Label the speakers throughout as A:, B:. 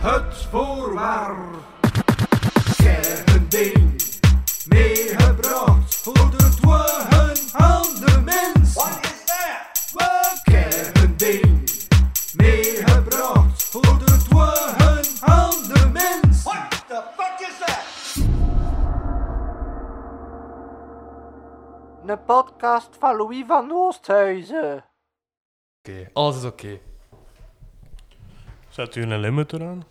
A: Het voorwaar ding meegebracht voor het wogen van de mens. Wat is dat? We ding meegebracht voor het wogen van de mens.
B: Een podcast van Louis van Oosthuizen.
C: Oké, alles is oké.
D: Zet u een limiter aan?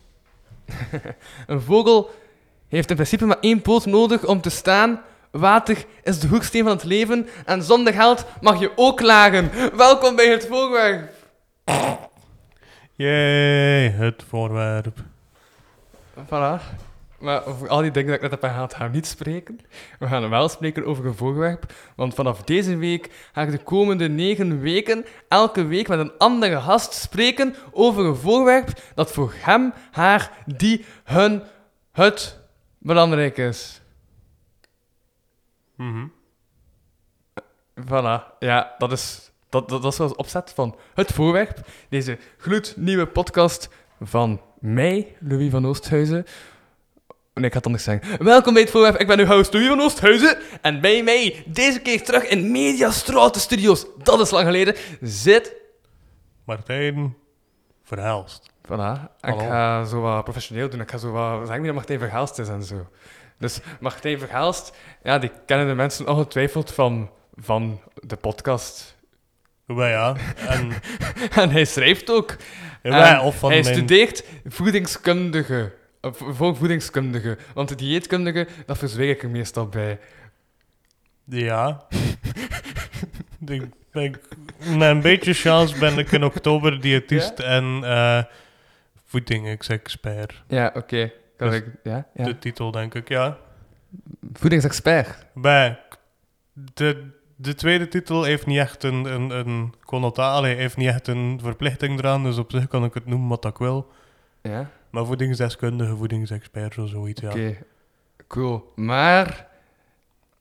C: Een vogel heeft in principe maar één poot nodig om te staan. Water is de hoeksteen van het leven en zonder geld mag je ook lagen. Welkom bij het Vogelwerf.
D: Jee, het voorwerp.
C: Voilà. Maar over al die dingen die ik net heb gehad, gaan we niet spreken. We gaan wel spreken over een voorwerp, want vanaf deze week ga ik de komende negen weken elke week met een andere gast spreken over een voorwerp dat voor hem, haar, die, hun, het belangrijk is.
D: Mhm.
C: Voilà, ja, dat is, dat, dat, dat is wel de opzet van het voorwerp. Deze gloednieuwe podcast van mij, Louis van Oosthuizen. Nee, ik ga het anders zeggen. Welkom bij het voorwerp, ik ben uw host Louis van Oosthuizen. En bij mij, deze keer terug in Mediastraat Studios, dat is lang geleden, zit...
D: Martijn Verhelst.
C: Voilà, en ik
D: Hallo.
C: ga zo wat professioneel doen. Ik ga zo wat zeggen wie dat Martijn Verhaalst is en zo. Dus Martijn Verhaalst, ja, die kennen de mensen ongetwijfeld van, van de podcast...
D: Wel ja. En,
C: En hij schrijft ook.
D: jawel,
C: En
D: of van
C: hij
D: mijn...
C: studeert voedingskundige. eh, vo- Voor voedingskundige. Want de dieetkundige, dat verzweeg ik er meestal bij.
D: Ja. ik ben, na een beetje chance ben ik in oktober diëtist en eh voedingsexpert.
C: Ja, oké. Kan
D: Dus
C: ik... Ja, ja.
D: De titel, denk ik, ja.
C: Voedingsexpert.
D: Bij de, de tweede titel heeft niet echt een, een, een connotatie, heeft niet echt een verplichting eraan, dus op zich kan ik het noemen wat ik wil.
C: Ja,
D: Maar voedingsdeskundige, voedingsexpert of zoiets, ja.
C: oké. Cool. Maar...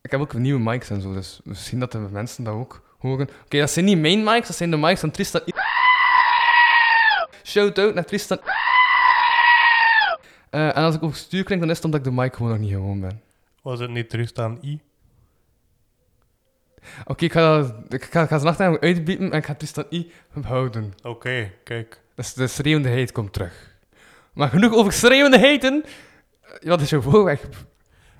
C: Ik heb ook nieuwe mics en zo, dus misschien dat de mensen dat ook horen. Oké, dat zijn niet mijn mics, dat zijn de mics van Tristan... I- Shout-out naar Tristan... I- Eh, en als ik op stuur klink, dan is het omdat ik de mic gewoon nog niet gewoon ben.
D: Was het niet Tristan I?
C: Oké, ik ga, ik ga, ik ga zijn achternaam uitbieden en ik ga Tristan I houden.
D: Oké, kijk.
C: Dus de schreeuwende heet komt terug. Maar genoeg over schreeuwende heten. Eh, Wat is jouw voorwerp?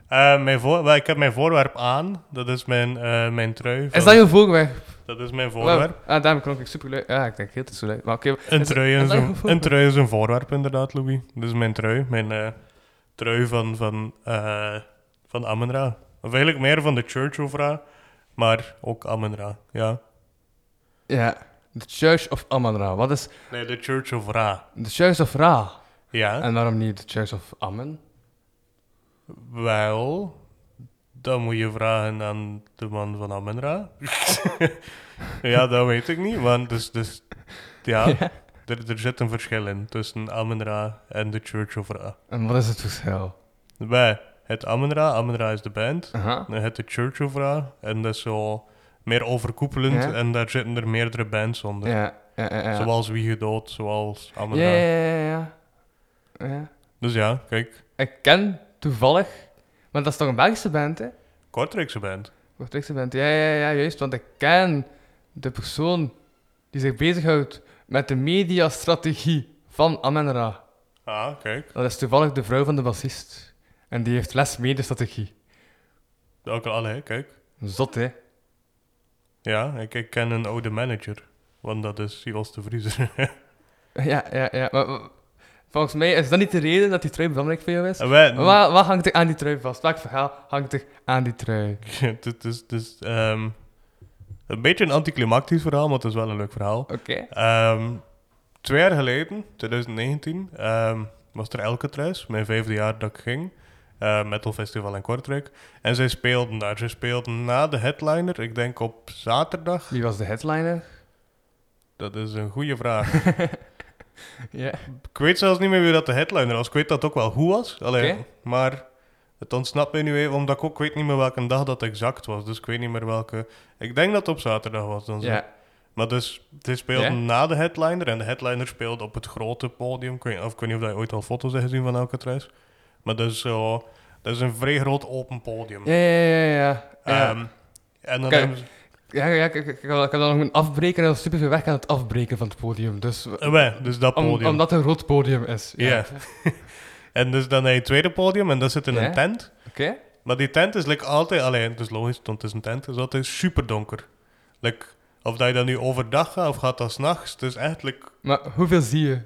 D: Eh, mijn voor, wel, ik heb mijn voorwerp aan. Dat is mijn, eh, mijn trui. van-
C: Is dat jouw voorwerp?
D: dat is mijn voorwerp.
C: Wel, Ah, daarom klonk ik superleuk. Ja, ik denk heel te zo leuk. Maar oké,
D: Een
C: is-
D: trui,
C: is
D: is
C: dat
D: een,
C: jouw voorwerp?
D: een trui is een voorwerp, inderdaad, Louis. Dat is mijn trui. Mijn eh, trui van, van, eh, van Amenra. Of eigenlijk meer van de Church of Ra, maar ook Amenra. Ja.
C: Ja. The Church of Amon Ra. Wat is
D: Nee, de Church of Ra.
C: The Church of Ra?
D: Ja.
C: En waarom niet The Church of Amen?
D: Wel, dat moet je vragen aan de man van Amenra. ja, dat weet ik niet, want dus, dus, ja, Er, er zit een verschil in tussen Amenra en de Church of Ra.
C: En wat is het verschil?
D: Wij, het Amenra, Amenra is de band,
C: Aha.
D: en het de Church of Ra, en dat is zo meer overkoepelend,
C: Ja.
D: en daar zitten er meerdere bands onder.
C: Ja, ja, ja. ja.
D: Zoals Wie Gedood, zoals
C: Ja,
D: Amenra.
C: ja, ja, ja. ja. ja.
D: Dus ja, kijk,
C: Ik ken toevallig, maar dat is toch een Belgische band, hè?
D: Kortrijkse band.
C: Kortrijkse band, ja, ja, ja, juist. Want ik ken de persoon die zich bezighoudt met de mediastrategie van Amenra.
D: Ah, kijk,
C: Dat is toevallig de vrouw van de bassist. En die heeft les mediastrategie.
D: ook al, hè, kijk.
C: Zot, hè?
D: Ja, ik, ik ken een oude manager. Want dat is Silas de Vriezer.
C: Ja, ja, ja. Maar, maar volgens mij is dat niet de reden dat die trui belangrijk voor jou is.
D: En wij-
C: Wat, wat hangt er aan die trui vast? Welk verhaal hangt er aan die trui?
D: Het is- het is- het is, ehm, een beetje een anticlimactisch verhaal, maar het is wel een leuk verhaal.
C: Oké.
D: Ehm, twee jaar geleden, 2019, ehm, was er Elke Truis, mijn vijfde jaar dat ik ging. eh, Metal Festival in Kortrijk. En zij speelden daar. Zij speelden na de headliner, ik denk op zaterdag.
C: Wie was de headliner?
D: Dat is een goede vraag.
C: Ja.
D: Ik weet zelfs niet meer wie dat de headliner was. Ik weet dat het ook wel goed was. Allee,
C: Oké.
D: Maar het ontsnapt mij nu even, omdat ik ook weet niet meer welke dag dat exact was. Dus ik weet niet meer welke... Ik denk dat het op zaterdag was. Dan zo.
C: Ja.
D: Maar dus, ze speelden
C: Ja?
D: na de headliner en de headliner speelde op het grote podium. Ik weet, of ik weet niet of je ooit al foto's hebt gezien van Alcatraz. Maar dat is, zo, dat is een vrij groot open podium.
C: Ja, ja, ja, ja. Ja,
D: Ehm, en dan
C: Kijk.
D: hebben ze...
C: ja, ja, ik, ik, ik, had- ik had dan nog een afbreker en dat is super veel weg aan het afbreken van het podium. Dus,
D: Eh, wij, dus dat
C: om-
D: podium.
C: omdat het een rood podium is.
D: Ja. en dus dan heb je het tweede podium en dat zit in
C: Ja?
D: een tent.
C: Oké.
D: Maar die tent is like, altijd, alleen het is logisch, want het is een tent, Dus het is altijd super donker. Like, of dat je dat nu overdag gaat of gaat dat s'nachts, het is echt like,
C: Maar hoeveel zie je?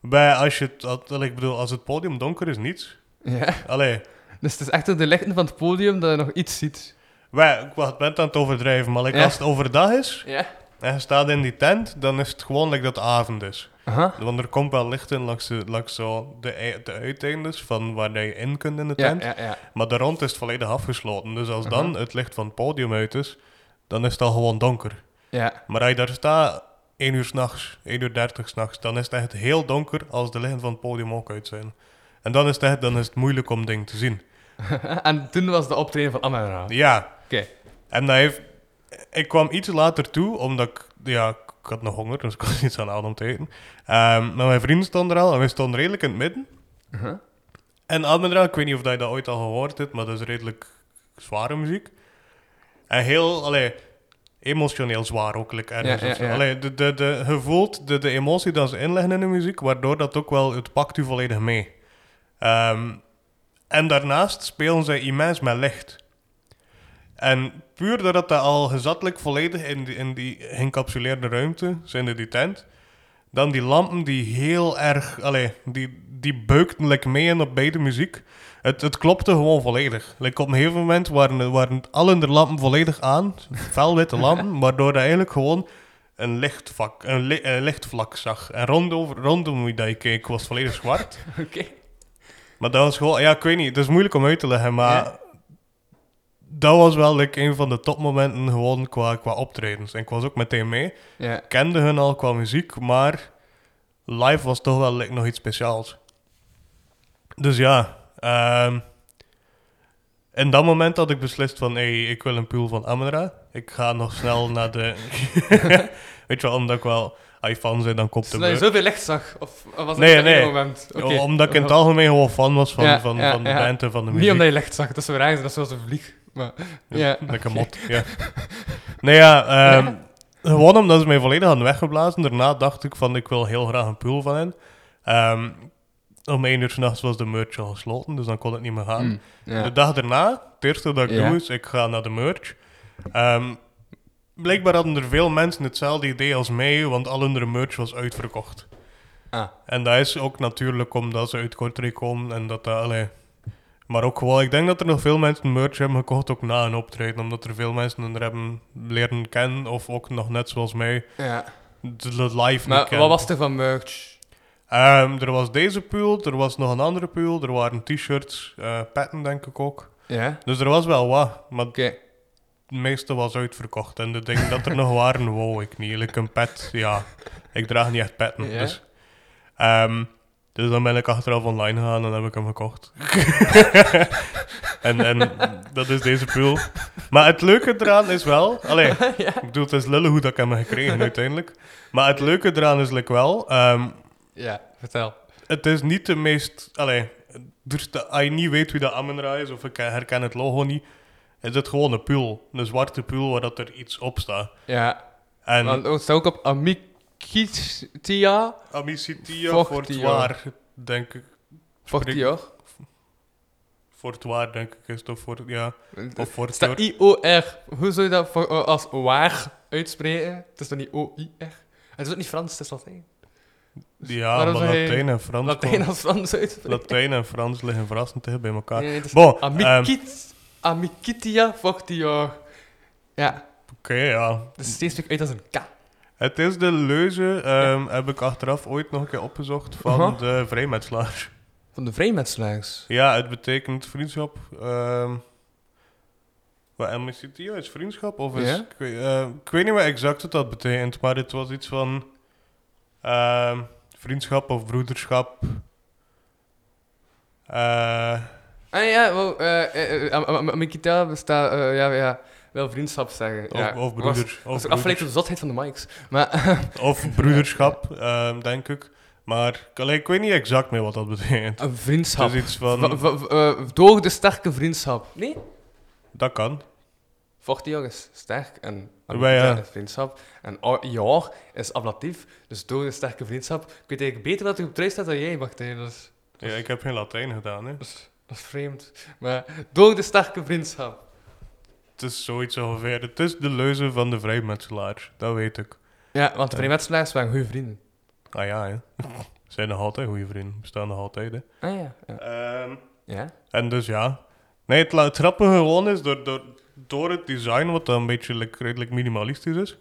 D: bij als je het, al- like, ik bedoel, als het podium donker is, niets.
C: Ja.
D: Allee,
C: Dus het is echt door de lichten van het podium dat je nog iets ziet.
D: wij, ik was- ben het aan het overdrijven, maar like,
C: Ja.
D: als het overdag is
C: Ja.
D: en je staat in die tent, dan is het gewoon like, dat het avond is.
C: Aha.
D: Want er komt wel licht in langs, de- langs zo de, ei- de uiteindes van waar dat je in kunt in de
C: Ja,
D: tent.
C: ja, Mhm. ja.
D: Maar de rond is het volledig afgesloten, dus als dan het licht van het podium uit is, dan is het al gewoon donker.
C: Ja.
D: Maar als je daar staat, 1 uur s'nachts, 1 uur 30 s'nachts, dan is het echt heel donker als de lichten van het podium ook uit zijn. En dan is het, echt, dan is het moeilijk om dingen te zien.
C: En toen was de optreden van Amara. Oké.
D: Ja, en hij heeft, ik kwam iets later toe, omdat ik, ja, ik had nog honger, dus ik was iets aan de hand om te eten. Ehm, maar mijn vrienden stonden er al en wij stonden redelijk in het midden.
C: Uh-huh.
D: En Almendra, ik weet niet of dat je dat ooit al gehoord hebt, maar dat is redelijk zware muziek. En heel, allee, emotioneel zwaar ook, like, ergens.
C: Ja, ja,
D: of zo.
C: ja.
D: Allee, de, de, de, je voelt de, de emotie dat ze inleggen in de muziek, waardoor dat ook wel, het pakt u volledig mee. Ehm, en daarnaast spelen zij immens met licht. En puur doordat dat al gezattelijk volledig in die, in die geëncapsuleerde ruimte zijn in die tent, dan die lampen die heel erg, allee, die, die beukten like, mee in op beide muziek. Het, het klopte gewoon volledig. Like, op een gegeven moment waren, waren alle de lampen volledig aan, felwitte lampen, waardoor je eigenlijk gewoon een, lichtvak, een, li- een lichtvlak zag. En rondom, rondom wie dat je keek was volledig zwart.
C: Oké.
D: Maar dat was gewoon, ja, ik weet niet, het is moeilijk om uit te leggen, maar
C: Ja.
D: dat was wel like, een van de topmomenten gewoon qua, qua optredens. En ik was ook meteen mee.
C: Ja.
D: Ik kende hun al qua muziek, maar live was toch wel like, nog iets speciaals. Dus ja, ehm, in dat moment had ik beslist van, hey, ik wil een pool van Amara. Ik ga nog snel naar de... weet je wel, omdat ik wel iPhone ben, dan komt de
C: Dus dat je
D: beurt.
C: zoveel licht zag? Of of was dat
D: Nee,
C: op
D: nee.
C: een moment? Oké.
D: Omdat ik in het algemeen gewoon fan was van,
C: Ja,
D: van,
C: ja,
D: van de
C: ja.
D: band en van de muziek.
C: Niet omdat je licht zag, dat is wel raar, dat is zoals een vlieg. Maar, ja.
D: Lekker mot, ja. Nee, ja, ehm, gewoon omdat ze mij volledig hadden weggeblazen. Daarna dacht ik van, ik wil heel graag een pool van hen. Ehm, om één uur s'nachts was de merch al gesloten, dus dan kon het niet meer gaan.
C: Mm, ja.
D: De dag daarna, het eerste dat ik
C: Ja.
D: doe is, ik ga naar de merch. Ehm, blijkbaar hadden er veel mensen hetzelfde idee als mij, want al hun merch was uitverkocht.
C: Ah.
D: En dat is ook natuurlijk omdat ze uit Kortrijk komen en dat dat... allee. Maar ook wel, ik denk dat er nog veel mensen merch hebben gekocht, ook na een optreden, omdat er veel mensen er hebben leren kennen, of ook nog net zoals mij,
C: ja.
D: de, de live
C: Maar
D: niet kennen.
C: wat was er van merch?
D: Ehm, er was deze pool, er was nog een andere pool, er waren t-shirts, eh petten denk ik ook.
C: Ja.
D: Dus er was wel wat, maar
C: Oké.
D: het meeste was uitverkocht. En de dingen dat er nog waren, wou ik niet. Like een pet, ja. Ik draag niet echt petten.
C: Ja.
D: Dus, Ehm, dus dan ben ik achteraf online gegaan en heb ik hem gekocht. en, en dat is deze pool. Maar het leuke eraan is wel... Allee, ik bedoel, het is lullig hoe dat ik hem heb gekregen uiteindelijk. Maar het leuke eraan is like wel... ehm,
C: Ja, vertel.
D: het is niet de meest. Allee, dus de, als je niet weet wie dat Amenra is of ik herken het logo niet, is het gewoon een pul. Een zwarte pul waar dat er iets op staat.
C: Ja.
D: En
C: Want het staat ook op Amikitia.
D: Amicitia
C: Vocht
D: Fortoir, denk ik.
C: Fortior.
D: Fortoir, denk ik, is toch voor. Ja, of
C: Het staat
D: Fortoir.
C: I-O-R. Hoe zou je dat voor, eh, als waar uitspreken? Het is dan niet O-I-R? Het is ook niet Frans, het is Latijn.
D: Ja, maar
C: Waarom zou je
D: Latijn en Frans.
C: Latijn
D: komen-
C: als Frans uitspreken.
D: Latijn en Frans liggen verrassend tegen bij elkaar.
C: Nee, het is
D: Bon, ehm,
C: Amikit, Amikitia Fortior. Ja,
D: Oké, ja.
C: dus steeds weer uit als een K.
D: Het is de leuze, ehm, heb ik achteraf ooit nog een keer opgezocht, van
C: Aha.
D: de vrijmetselaars.
C: Van de vrijmetselaars.
D: Ja, het betekent vriendschap. ehm wat amicitia is vriendschap? Of is,
C: Ja?
D: ik, weet, eh, ik weet niet meer exact wat dat betekent, maar het was iets van ehm, vriendschap of broederschap. Eh,
C: Ah ja, wel, eh, eh, eh, am- am- am- Amikita bestaat, eh, ja, ja. wil vriendschap zeggen.
D: Of,
C: ja.
D: of
C: Was-
D: broeder. Of,
C: was ik
D: broeder-
C: afgeleid door de zotheid van de mics. Maar
D: of broederschap, ehm, denk ik. Maar allee, ik weet niet exact meer wat dat betekent.
C: een
D: Het
C: vriendschap.
D: is iets
C: Va-
D: van...
C: va- va- eh, door de sterke vriendschap. Nee?
D: Dat kan.
C: Forte jongens, sterk en en
D: Wij, ja.
C: is vriendschap. En o- jaar is ablatief, dus door de sterke vriendschap. Ik weet eigenlijk beter dat er op het rij staat dan jij, Martijn. Dat is,
D: Ja, ik heb geen Latijn gedaan, hè.
C: dat is, dat is vreemd. Maar door de sterke vriendschap.
D: Het is zoiets ongeveer. Het is de leuze van de vrijmetselaar. Dat weet ik.
C: Ja, want de vrijmetselaars waren goede vrienden.
D: Ah ja, hè. Zijn nog altijd goede vrienden. Bestaan nog altijd, hè.
C: Ah ja. Ja?
D: Ehm,
C: ja.
D: en dus ja. Nee, het, la- het grappige gewoon is, door, door, door het design, wat dan een beetje like, redelijk minimalistisch is.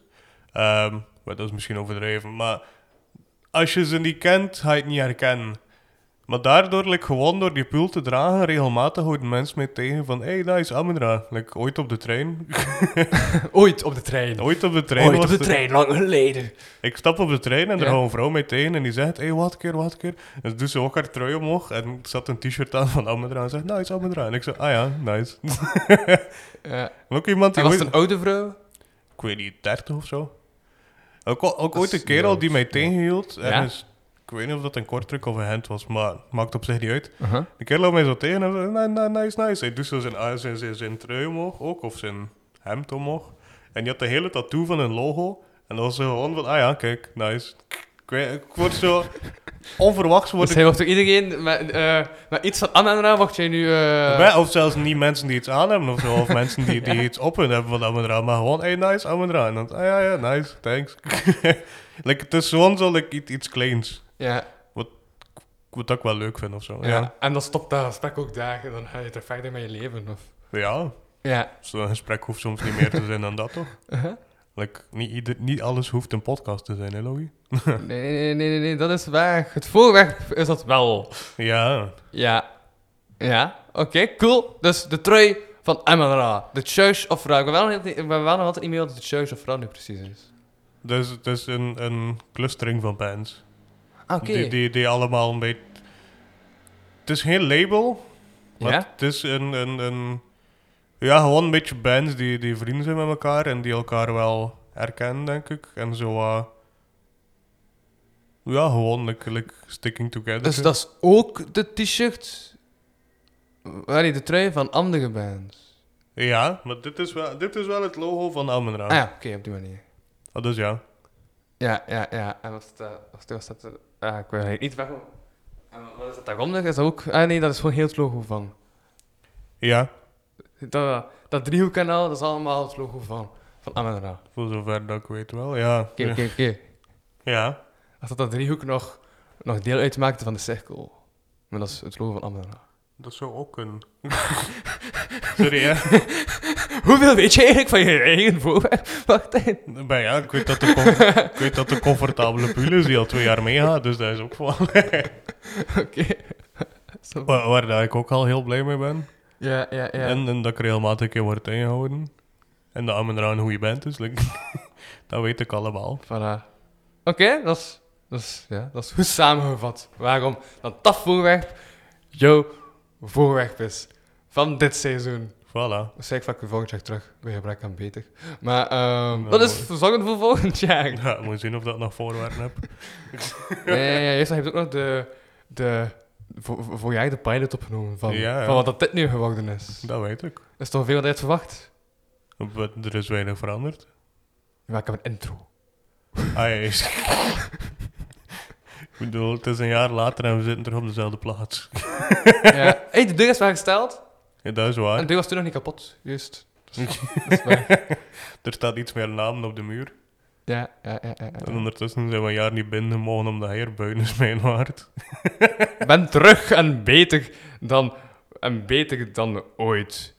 D: ehm, maar dat is misschien overdreven, maar als je ze niet kent, ga je het niet herkennen. Maar daardoor, like, gewoon door die pul te dragen, regelmatig hoort een mens mee tegen van... Hé, hey, dat is Amundra. Like, ooit op de trein.
C: Ooit op de trein.
D: ooit op de trein
C: Ooit op
D: was
C: de
D: de-
C: trein, lang geleden.
D: Ik stap op de trein en er
C: Ja.
D: houdt een vrouw mij tegen en die zegt, hé, hey, wat keer, wat keer. En ze doet ze ook haar trui omhoog en er zat een t-shirt aan van Amundra en zegt, nice Amundra. En ik zei, ah ja, nice.
C: Ja.
D: En ook iemand
C: En
D: die
C: was
D: ooit,
C: het een oude vrouw?
D: ik weet niet, 30 of zo. Ook, ook ooit
C: is
D: een kerel die mij
C: nice, ja.
D: tegenhield. En
C: Ja?
D: is- ik weet niet of dat een kortruk of een hand was, maar maakt op zich niet uit. De kerel houdt mij zo tegen en zegt, "Na- na- nice, nice. Hij doet zo zijn, ah, zijn, zijn, zijn trui omhoog ook, of zijn hemd omhoog. En die had de hele tattoo van een logo. En dan was ze gewoon van, ah ja, kijk, nice. Ik, weet- ik word zo... Onverwachts word
C: Dus
D: ik...
C: hij wordt door iedereen... Met, eh, met iets van Anna Anna wordt jij nu... eh,
D: Bij- of zelfs niet mensen die iets aan hebben of zo, of mensen die, die iets op hun hebben van Amundra, maar gewoon, hey, nice, Amundra. En dan, ah ja, ja, nice, thanks. like, het is gewoon zo like, iets, iets kleins,
C: ja.
D: wat ik wel leuk vind of zo.
C: Ja.
D: Ja,
C: en dan stopt dat gesprek ook daar en dan ga je er verder met je leven. Of...
D: ja
C: Ja.
D: zo'n gesprek hoeft soms niet meer te zijn dan dat, toch?
C: Uh-huh.
D: Like, niet, ieder, niet alles hoeft een podcast te zijn, hè, Louis?
C: Nee, nee, nee, nee, nee, dat is waar. Het voorwerp is dat wel.
D: Ja,
C: Ja. Ja, oké, cool. Dus de trui van MLRA. De Church of Ra. Ik ben wel nog altijd- ik ben wel nog altijd niet meer wat de Church of Ra nu precies is.
D: dus het is een, een clustering van bands.
C: Ah, oké.
D: Die, die, die allemaal een beetje... Het is geen label, Maar
C: Ja?
D: het is een, een, een... Ja, gewoon een beetje bands die, die vrienden zijn met elkaar en die elkaar wel herkennen, denk ik. En zo... eh, ja, gewoon like, like sticking together.
C: Dus dat is ook de t-shirt... Ah, Nee, de trui van andere bands.
D: Ja, maar dit is wel, dit is wel het logo van Amundra.
C: Ah ja, oké, op die manier.
D: Ah, dus ja.
C: Ja, ja, ja. En was het, eh, was het, was dat, eh, ah, ik weet het niet waarom. En wat is dat daaronder? Is dat ook... Ah nee, dat is gewoon heel het logo van.
D: Ja,
C: Dat, dat driehoekkanaal, dat is allemaal het logo van, van Amara. Oké,
D: voor zover dat ik weet wel, ja.
C: oké, oké.
D: Ja.
C: Als dat, dat driehoek nog, nog deel uitmaakte van de cirkel. Maar dat is het logo van Amara.
D: Dat zou ook kunnen. Sorry, hè.
C: Hoeveel weet je eigenlijk van je eigen voorwerp? Wacht even.
D: Maar ja, ik weet dat de, com- ik weet dat de comfortabele pull is die al twee jaar meegaat, dus dat is ook van...
C: Oké. Zo.
D: Waar, waar dat ik ook al heel blij mee ben.
C: Ja, ja, ja.
D: En, en dat ik regelmatig een keer word tegengehouden. En dat Amundra een goede band is. like, dat weet ik allemaal.
C: Voilà. Oké, dat, is, dat, is, ja, dat is goed samengevat. Waarom dat dat voorwerp jouw voorwerp is van dit seizoen.
D: Voilà.
C: Dat zei ik vaak weer volgend jaar terug, bij gebrek aan beter. Maar ehm,
D: Ja,
C: dat is
D: mooi.
C: verzorgend voor volgend jaar.
D: Ja, moet zien of dat nog voorwaarden heb.
C: Nee, ja, ja, eerst heb je ook nog de, de voor, voor- voor jij de pilot opgenomen van,
D: Ja, ja.
C: van wat dat dit nu geworden is. Dat
D: Dat weet ik.
C: is toch veel wat je had verwacht?
D: Maar er is weinig veranderd.
C: Maar ik heb een intro.
D: Ah, ja, is- ik bedoel, het is een jaar later en we zitten terug op dezelfde plaats.
C: ja. hey, de deur is maar gesteld.
D: Ja, dat is
C: En
D: waar.
C: de deur was toen nog niet kapot, juist. Dus- dat is waar.
D: Er staat iets meer namen op de muur.
C: ja, ja, ja, ja, ja.
D: En ondertussen zijn we een jaar niet binnen mogen omdat hij er buiten is mijn waard.
C: ben terug en beter dan, en beter dan ooit.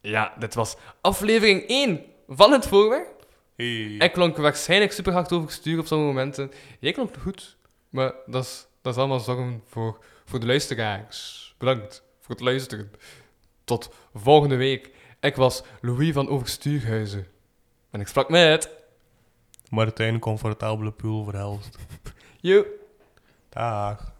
C: Ja, dit was aflevering 1 van het voorwerp.
D: Hey.
C: Ik klonk waarschijnlijk super hard overstuur op sommige momenten. Jij klonk goed, maar dat is, dat is allemaal zorgen voor, voor de luisteraars. Bedankt voor het luisteren. Tot volgende week. Ik was Louis van Overstuurhuizen. En ik sprak met...
D: Martijn, comfortabele puul verhelst.
C: Yo.
D: Dag.